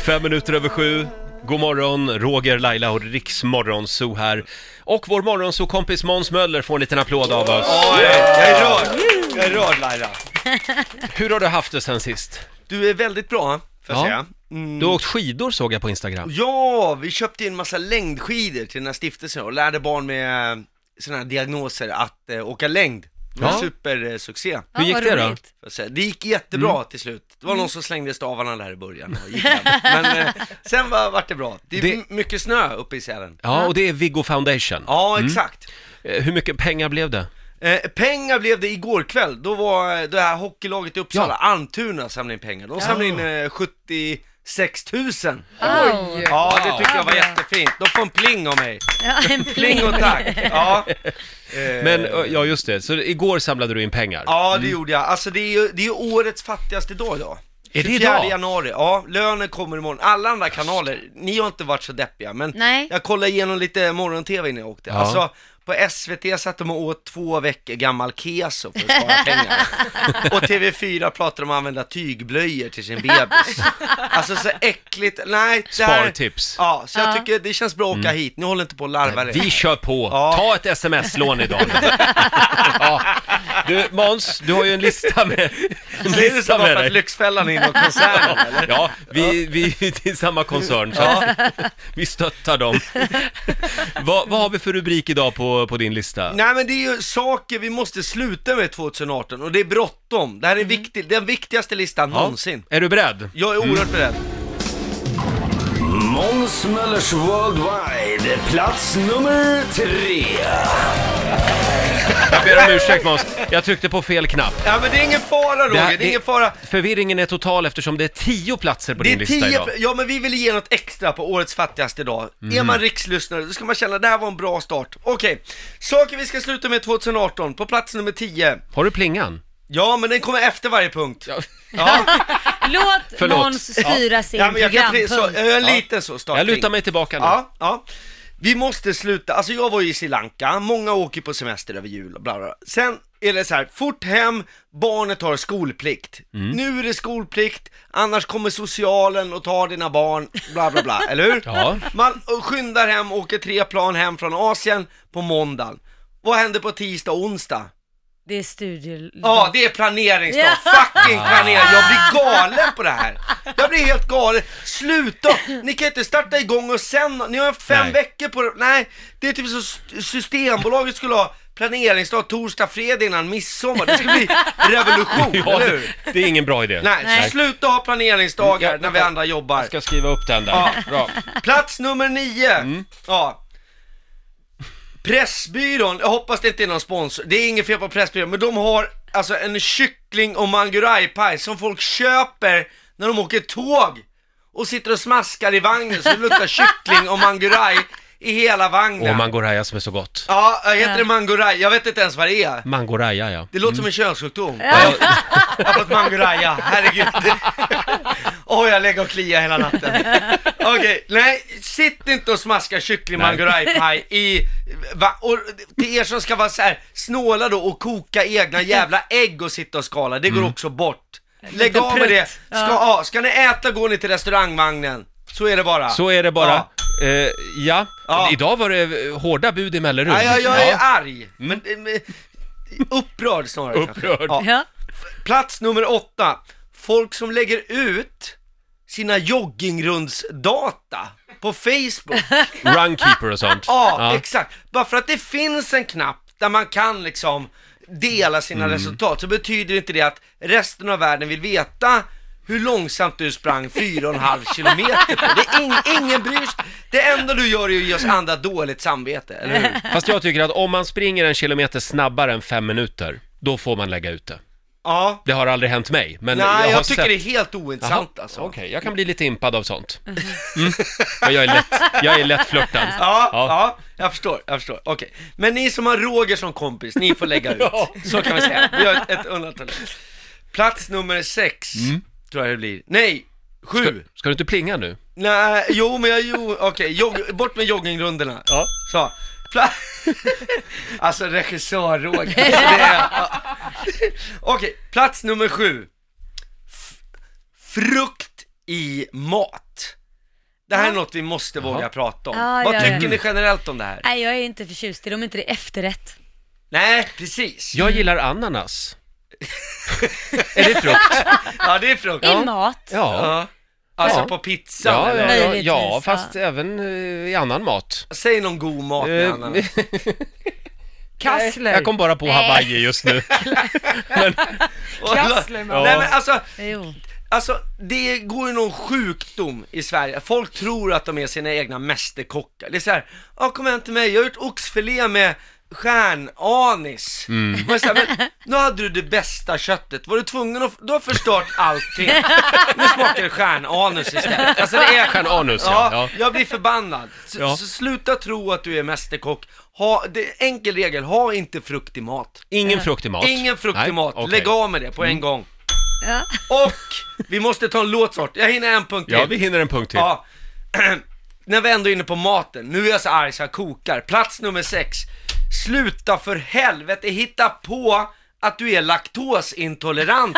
Fem minuter över sju. God morgon, Roger, Laila och Riksmorgonzoo här. Och vår morgonzoo-kompis Måns Möller får en liten applåd av oss. Oj, jag är rörd! Jag är rörd Laila. Hur har du haft det sen sist? Du är väldigt bra, får jag Ja. säga. Mm. Du har åkt skidor såg jag på Instagram. Ja, vi köpte in massa längdskidor till den här stiftelsen och lärde barn med sådana här diagnoser att eh, åka längd. Det var Ja. en supersuccé. Hur gick vad det då? roligt. får jag säga. Det gick jättebra till slut. Det var någon som slängde stavarna där i början. och gick jävligt. Men eh, sen var, vart det bra. Det är Det- m- mycket snö uppe i Sälen. Ja, och det är Viggo Foundation. Ja, exakt. Eh, Hur mycket pengar blev det? Eh, pengar blev det igår kväll, då var eh, det här hockeylaget i Uppsala, Almtuna, samlade in pengar. De samlade in eh, 76 000. Wow. Ja, det tycker jag var Wow. jättefint. De får en pling av mig. Ja, en Pling och tack. Ja, Eh, Men, eh, ja just det, så igår samlade du in pengar. ja det gjorde jag. Alltså det är ju det är ju årets fattigaste dag idag. Är det 24 idag? januari, ja, lönen kommer imorgon. Alla andra kanaler, ni har inte varit så deppiga, men Nej. jag kollade igenom lite morgon-tv innan jag åkte. Ja. Alltså, på SVT satt de och åt två veckor gammal keso för att spara pengar. och TV4 pratade om att använda tygblöjor till sin bebis. Alltså så äckligt, nej. det här- Spartips. Mm. Ja, så jag tycker det känns bra att åka hit, ni håller inte på och larva er. Vi kör på! Ja. Ta ett sms-lån idag. ja. Du, Måns, du har ju en lista med, en Säger du lista så bara med för att dig. Lyxfällan är inom koncernen eller? Ja, vi, vi det är samma koncern, så att vi stöttar dem. Vad, vad har vi för rubrik idag på, på din lista? Nej men det är ju saker vi måste sluta med 2018 och det är bråttom. Det här är viktig, den viktigaste listan Ja. någonsin. Är du beredd? Jag är oerhört beredd. Måns Möllers Worldwide, plats nummer tre. Jag ber om ursäkt Måns, jag tryckte på fel knapp. Ja men det är ingen fara Roger, det, här- är ingen fara. Förvirringen är total eftersom det är tio platser på Det din är lista idag. tio, ja men vi vill ge något extra på årets fattigaste dag. Är man rikslyssnare då ska man känna det här var en bra start. Okej, saker vi ska sluta med 2018 på plats nummer 10. Har du plingan? Ja men den kommer efter varje punkt. Ja, Låt Förlåt. Måns styra sin ja men jag kan pre- programpunkt. så, eh, jag är en liten så startkring. Jag lutar mig tillbaka nu. Ja, ja. Vi måste sluta, alltså jag var ju i Sri Lanka, många åker på semester över jul och bla bla. bla. Sen är det så här, fort hem, barnet har skolplikt. Mm. Nu är det skolplikt, annars kommer socialen och tar dina barn, bla bla bla, eller hur? Ja. Man skyndar hem, åker tre plan hem från Asien på måndagen. Vad händer på tisdag och onsdag? Det är studiel... Ja, det är planeringsdag. Ja. Ah. Fucking planering. Jag blir galen på det här. Jag blir helt galen. Sluta! Ni kan inte starta igång och sen, ni har fem Nej. veckor på er. Nej, det är typ så s- Systembolaget skulle ha planeringsdag torsdag, fredag innan midsommar. Det skulle bli revolution, Ja, eller hur? det är ingen bra idé. Nej, Nej. sluta ha planeringsdagar Jag- när vi andra jobbar. Jag ska skriva upp den där. Ja. Bra. Plats nummer nio. Ja. Pressbyrån, jag hoppas det inte är någon sponsor, det är inget fel på Pressbyrån, men de har alltså en kyckling och mangurajpaj som folk köper när de åker tåg och sitter och smaskar i vagnen så det luktar kyckling och manguraj i hela vagnen. Och mangoraya som är så gott. Ja, jag heter det manguraj? Jag vet inte ens vad det är. Mangoraya, ja. Det låter som en könssjukdom. Ja, Jag har fått manguraja, herregud. Åh, jag lägger och kliar hela natten. Okej, nej, sitt inte och smaska kyckling Nej. mangurajpaj i... Va, och till er som ska vara så här snåla då och koka egna jävla ägg och sitta och skala, det går Mm. också bort. Lägg Lite av med det. prutt. Ska, Ja. ja. ska ni äta går ni till restaurangvagnen. Så är det bara. Så är det bara. Ja. Eh, ja. Ja. idag var det eh, hårda bud i Mellerud. Ja, jag, jag är Ja. arg. Men, men, upprörd snarare kanske. Upprörd. Ja. Ja. Plats nummer åtta. Folk som lägger ut sina joggingrundsdata på Facebook. Runkeeper och sånt. Ja, Ja. exakt. Bara för att det finns en knapp där man kan liksom dela sina Mm. resultat så betyder inte det att resten av världen vill veta hur långsamt du sprang 4,5 kilometer på. Det är ing- ingen bryr sig. Det enda du gör är att ge oss andra dåligt samvete, eller hur? Fast jag tycker att om man springer en kilometer snabbare än fem minuter, då får man lägga ut det. Ja. Det har aldrig hänt mig, men jag har Nej, jag tycker sett... det är helt ointressant alltså. Okej, jag kan bli lite impad av sånt. Mhm. Mm. Men jag är lätt, jag är lätt flörtad. Ja, Ja. ja. jag förstår, jag förstår. Okej. Men ni som har Roger som kompis, ni får lägga ut. Ja. Så kan vi säga. Vi gör ett, ett undantag. Plats nummer sex, tror jag det blir. Nej, sju. Mm. Ska, ska du inte plinga nu? Nej, jo men jag, jo, okej, jogg- bort med joggingrundorna. Ja. Så. Pla- alltså regissör Roger. Alltså, det är- ja. Okej, plats nummer sju. F- frukt i mat. Det här är något vi måste våga prata om. Ja, Vad ja, tycker ja. ni generellt om det här? Nej, jag är inte förtjust i dem, inte det är efterrätt. Nej, precis. Jag gillar ananas. är det frukt? Ja, det är frukt. I mat. Ja. Ja. Alltså Ja. på pizzan Ja, ja, eller? ja, Möjligtvis, ja, ja. fast även eh, i annan mat. Säg någon god mat med Eh, ananas. Kassler. Jag kom bara på Hawaii just nu. Kassler, man. Nej men alltså, Jo. alltså, det går ju någon sjukdom i Sverige. Folk tror att de är sina egna mästerkockar. Det är så här, ja kom hem till mig, jag har gjort oxfilé med stjärnanis. Mm. Men, så här, men nu hade du det bästa köttet, var du tvungen att, du har förstört allting. Nu smakar det stjärnanus istället. Alltså det är, Stjärnanus, ja, ja, ja. Jag blir förbannad. Så, Ja. så sluta tro att du är mästerkock. Ha, det är enkel regel, ha inte frukt i mat. Ingen frukt i mat. Ingen frukt Nej, i mat, okej. Mm. lägg av med det på en gång. Ja. Och vi måste ta en låt snart, jag hinner en punkt till. Ja, vi hinner en punkt till. Ja. När vi ändå är inne på maten, nu är jag så arg så jag kokar. Plats nummer sex. Sluta för helvete hitta på att du är laktosintolerant.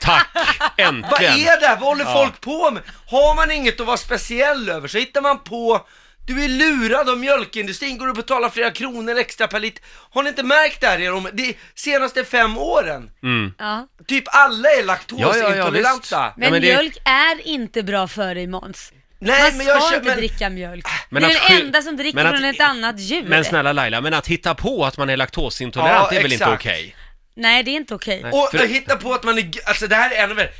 Tack! Vad Äntligen! är det? här? Vad håller folk på med? Har man inget att vara speciell över så hittar man på du är lurad av mjölkindustrin, går du och betalar flera kronor extra per liter. Har ni inte märkt det här i de, de senaste fem åren? Mm. Ja. Typ alla är Ja, ja, ja, laktosintoleranta. visst. Men, men det- mjölk är inte bra för dig Måns. Nej, Man men jag ska kö- inte men- dricka mjölk. Men du är att den sky- enda som dricker men att- från ett annat djur. Men snälla Laila, men att hitta på att man är laktosintolerant Ja, är väl inte exakt. okej? Nej, det är inte okej. Nej. Och För- hitta på att man är, g- alltså det här är ännu värre,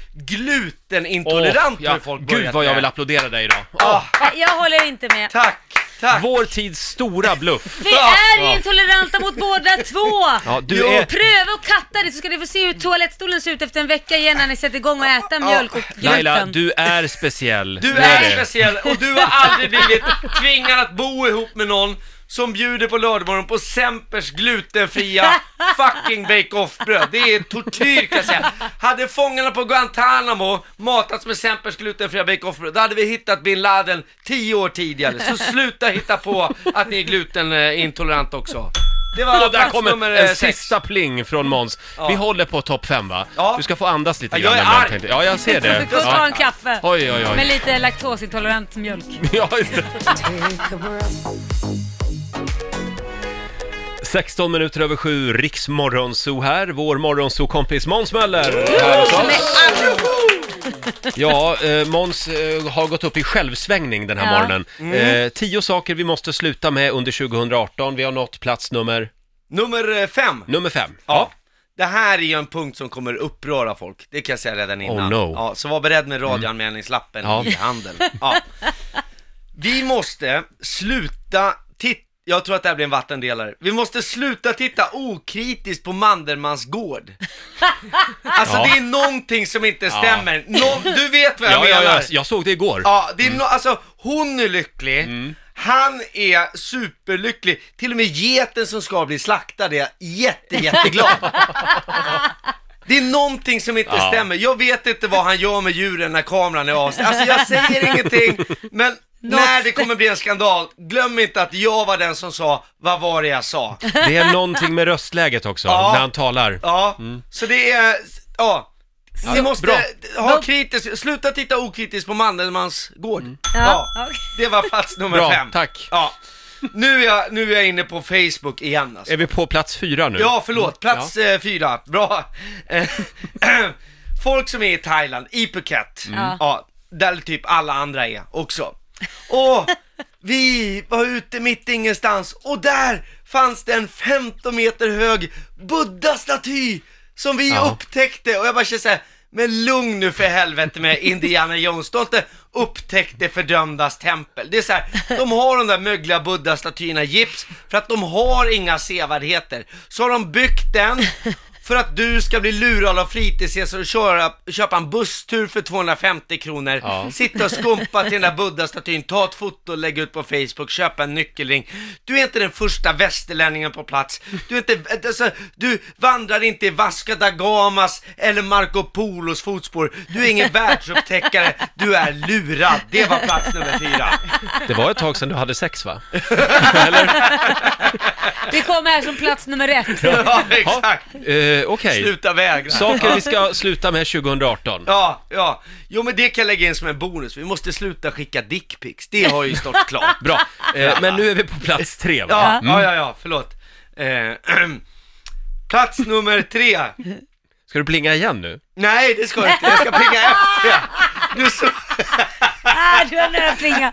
glutenintolerant Åh, ja. har folk Gud börjat vad jag vill med. applådera dig idag. Ah, Nej, Jag håller inte med. tack, tack. Vår tids stora bluff. Vi är intoleranta mot båda två! Ja, du Jo. är- Pröva och katta det så ska ni få se hur toalettstolen ser ut efter en vecka igen när ni sätter igång och äta mjölk och gluten. Laila, du är speciell. Du är är det. speciell och du har aldrig blivit tvingad att bo ihop med någon som bjuder på lördagmorgon på Sempers glutenfria fucking bake-off-bröd. Det är tortyr kan jag säga. Hade fångarna på Guantanamo matats med Sempers glutenfria bake-off-bröd, då hade vi hittat bin Laden tio år tidigare. Så sluta hitta på att ni är glutenintolerant också. Det var Och där plats kommer nummer en eh, sex. sista pling från Måns. Vi håller på topp fem va? Ja. Du ska få andas lite Ja, jag grann. är men arg. tänkte- Ja, jag ser det. Du får ta Ja. en kaffe Oj, oj, med oj. lite laktosintolerant mjölk. Ja, just det. 16 minuter över sju, Riks morgonzoo här. Vår morgonzoo-kompis Måns Möller är här hos oss. Ja, eh, Måns eh, har gått upp i självsvängning den här Ja. morgonen. Eh, tio saker vi måste sluta med under 2018. Vi har nått plats nummer, Nummer eh, fem. nummer fem. Ja. Det här är ju en punkt som kommer uppröra folk, det kan jag säga redan innan. Oh, no. Mm. ja, så var beredd med radioanmälningslappen Ja. i handen. Ja. Vi måste sluta titta, jag tror att det här blir en vattendelare. Vi måste sluta titta okritiskt på Mandelmans gård. Alltså Ja. det är någonting som inte stämmer. Nå- du vet vad jag Ja, ja, menar. ja, jag såg det igår. Ja, det är nå- alltså hon är lycklig, han är superlycklig, till och med geten som ska bli slaktad är jätte, jätteglad. Det är någonting som inte Ja. stämmer. Jag vet inte vad han gör med djuren när kameran är avstängd. Alltså jag säger ingenting, men när det kommer bli en skandal, glöm inte att jag var den som sa, vad var det jag sa? Det är någonting med röstläget också, Ja. när han talar. Ja, så det är, ja. Ni måste Mm. bra. ha kritiskt, sluta titta okritiskt på Mandelmans gård. Ja, Ja. okej. Det var plats nummer Mm. Bra, fem. tack. Ja. Nu är, jag, nu är jag inne på Facebook igen alltså. Är Mm, vi på plats fyra nu? Ja, förlåt. Plats eh, fyra. Bra. Eh, Folk som är i Thailand, i Phuket, Ja. ja, där typ alla andra är också. Och vi var ute mitt i ingenstans och där fanns det en 15 meter hög buddha-staty som vi Ja. upptäckte och jag bara känner såhär, men lugn nu för helvete med Indiana Jones, de har inte upptäckt det fördömdas tempel. Det är så här, de har de där mögliga buddha-statyerna i gips för att de har inga sevärdheter. Så har de byggt den för att du ska bli lurad av fritidsresor och köra, köpa en busstur för 250 kronor, Ja. sitta och skumpa till den där buddha-statyn, ta ett foto, lägga ut på Facebook, köpa en nyckelring. Du är inte den första västerlänningen på plats. Du, är inte, alltså, du vandrar inte i Vasco da Gamas eller Marco Polos fotspår. Du är ingen världsupptäckare, du är lurad. Det var plats nummer fyra. Det var ett tag sedan du hade sex va? Det kommer här som plats nummer ett. Ja, Ja. exakt. Eh, Eh, Okej, Sluta vägra. saker vi ska sluta med 2018. Ja, ja. Jo men det kan jag lägga in som en bonus. Vi måste sluta skicka dickpics. Det har ju stått klart. Bra, eh, men nu är vi på plats tre va? Ja, ja, ja, ja förlåt. Eh, plats nummer tre. Ska du plinga igen nu? Nej, det ska jag inte. Jag ska plinga efter. Du så... Ah, du har nära plinga.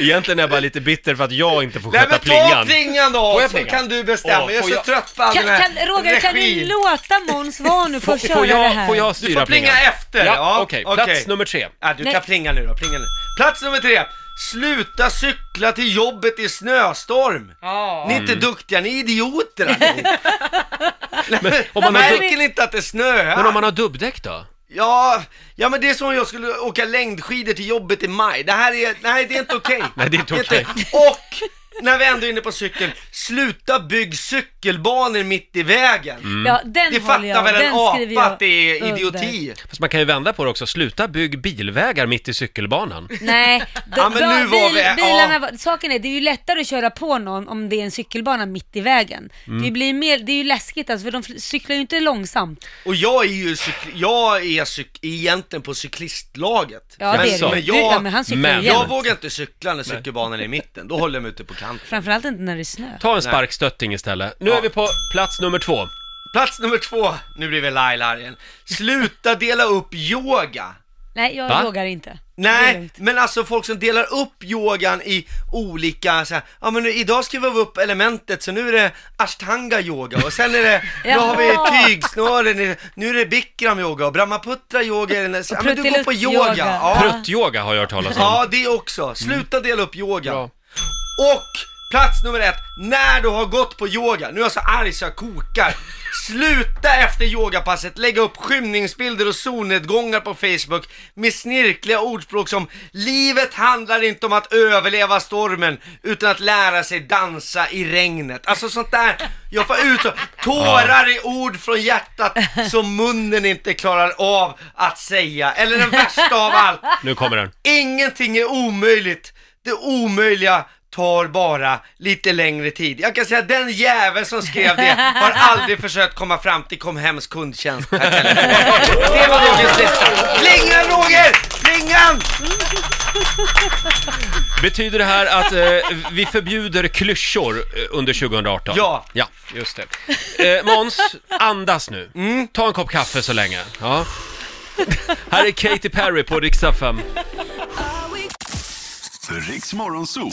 Egentligen är jag bara lite bitter för att jag inte får Nej sköta men ta plingan. plingan då, Får jag så plinga? kan du bestämma. Åh, jag är får så jag- trött på all Kan, den här kan, Roger, kan du regin. låta Måns vara nu för att köra Får det jag, här? får jag Du styra får plinga efter. Ja, Ja, okej. Plats nummer tre. Ja, du Nej. kan plinga nu då, plinga nu. Plats nummer tre. Sluta cykla till jobbet i snöstorm. Ja. Ni är Mm. inte duktiga, ni är idioter allihop. Nej, om man- men, märker ni inte att det snöar? Men om man har dubbdäck då? Ja, ja men det är som om jag skulle åka längdskidor till jobbet i maj. Det här är, nej det är inte okej. Nej, det är inte okej. Och, när vi ändå är inne på cykeln, sluta bygg cykelbanor mitt i vägen. Mm. Ja, den Det håller jag. fattar väl en den skriver apa jag att det är under. idioti? Fast man kan ju vända på det också, sluta bygg bilvägar mitt i cykelbanan. Nej, Ja, men nu var vi- ja. bilarna, var- saken är, det är ju lättare att köra på någon om det är en cykelbana mitt i vägen. Det, Mm. blir mer, det är ju läskigt alltså, för de fl- cyklar ju inte långsamt. Och jag är ju cykl- jag är cyk- egentligen på cyklistlaget. Ja, Men det är så. det. Men Du, ja, men jag, han cyklar men- men, jag igen. vågar inte cykla när cykelbanan är i mitten, då håller jag mig ute på kanten. Framförallt inte när det är snö. Ta en sparkstötting istället. Nu är vi på plats nummer två. Plats nummer två, nu blir vi Laila här igen. Sluta dela upp yoga. Nej, jag Va? vågar inte. Det är Nej, lugnt. men alltså folk som delar upp yogan i olika så här, ja men nu, idag skriver vi upp elementet så nu är det ashtanga yoga och sen är det, då har vi Jaha. tygsnören, i- nu är det bikram yoga och brahmaputra yoga är den där, ja, men du går på Pruttilutt-yoga. yoga. Ja, Pruttyoga har jag hört talas om. ja, det också. Sluta dela upp yoga. Bra. Och plats nummer ett, när du har gått på yoga, nu är jag så arg så jag kokar. Sluta efter yogapasset lägga upp skymningsbilder och solnedgångar på Facebook med snirkliga ordspråk som “Livet handlar inte om att överleva stormen utan att lära sig dansa i regnet”. Alltså sånt där, jag får ut så- tårar i ord från hjärtat som munnen inte klarar av att säga. Eller den värsta av allt, Nu kommer den. Ingenting är omöjligt. Det omöjliga tar bara lite längre tid. Jag kan säga att den jäveln som skrev det har aldrig försökt komma fram till Comhems kundtjänst. Här kan jag säga. Det var Rogers lista. Plingan Roger! Plingan! Betyder det här att eh, vi förbjuder klyschor eh, under 2018? Ja. Ja, just det. Eh, Måns, andas nu. Ta en kopp kaffe så länge. Ja. Här är Katy Perry på riksdag 5. Riks Morgonzoo.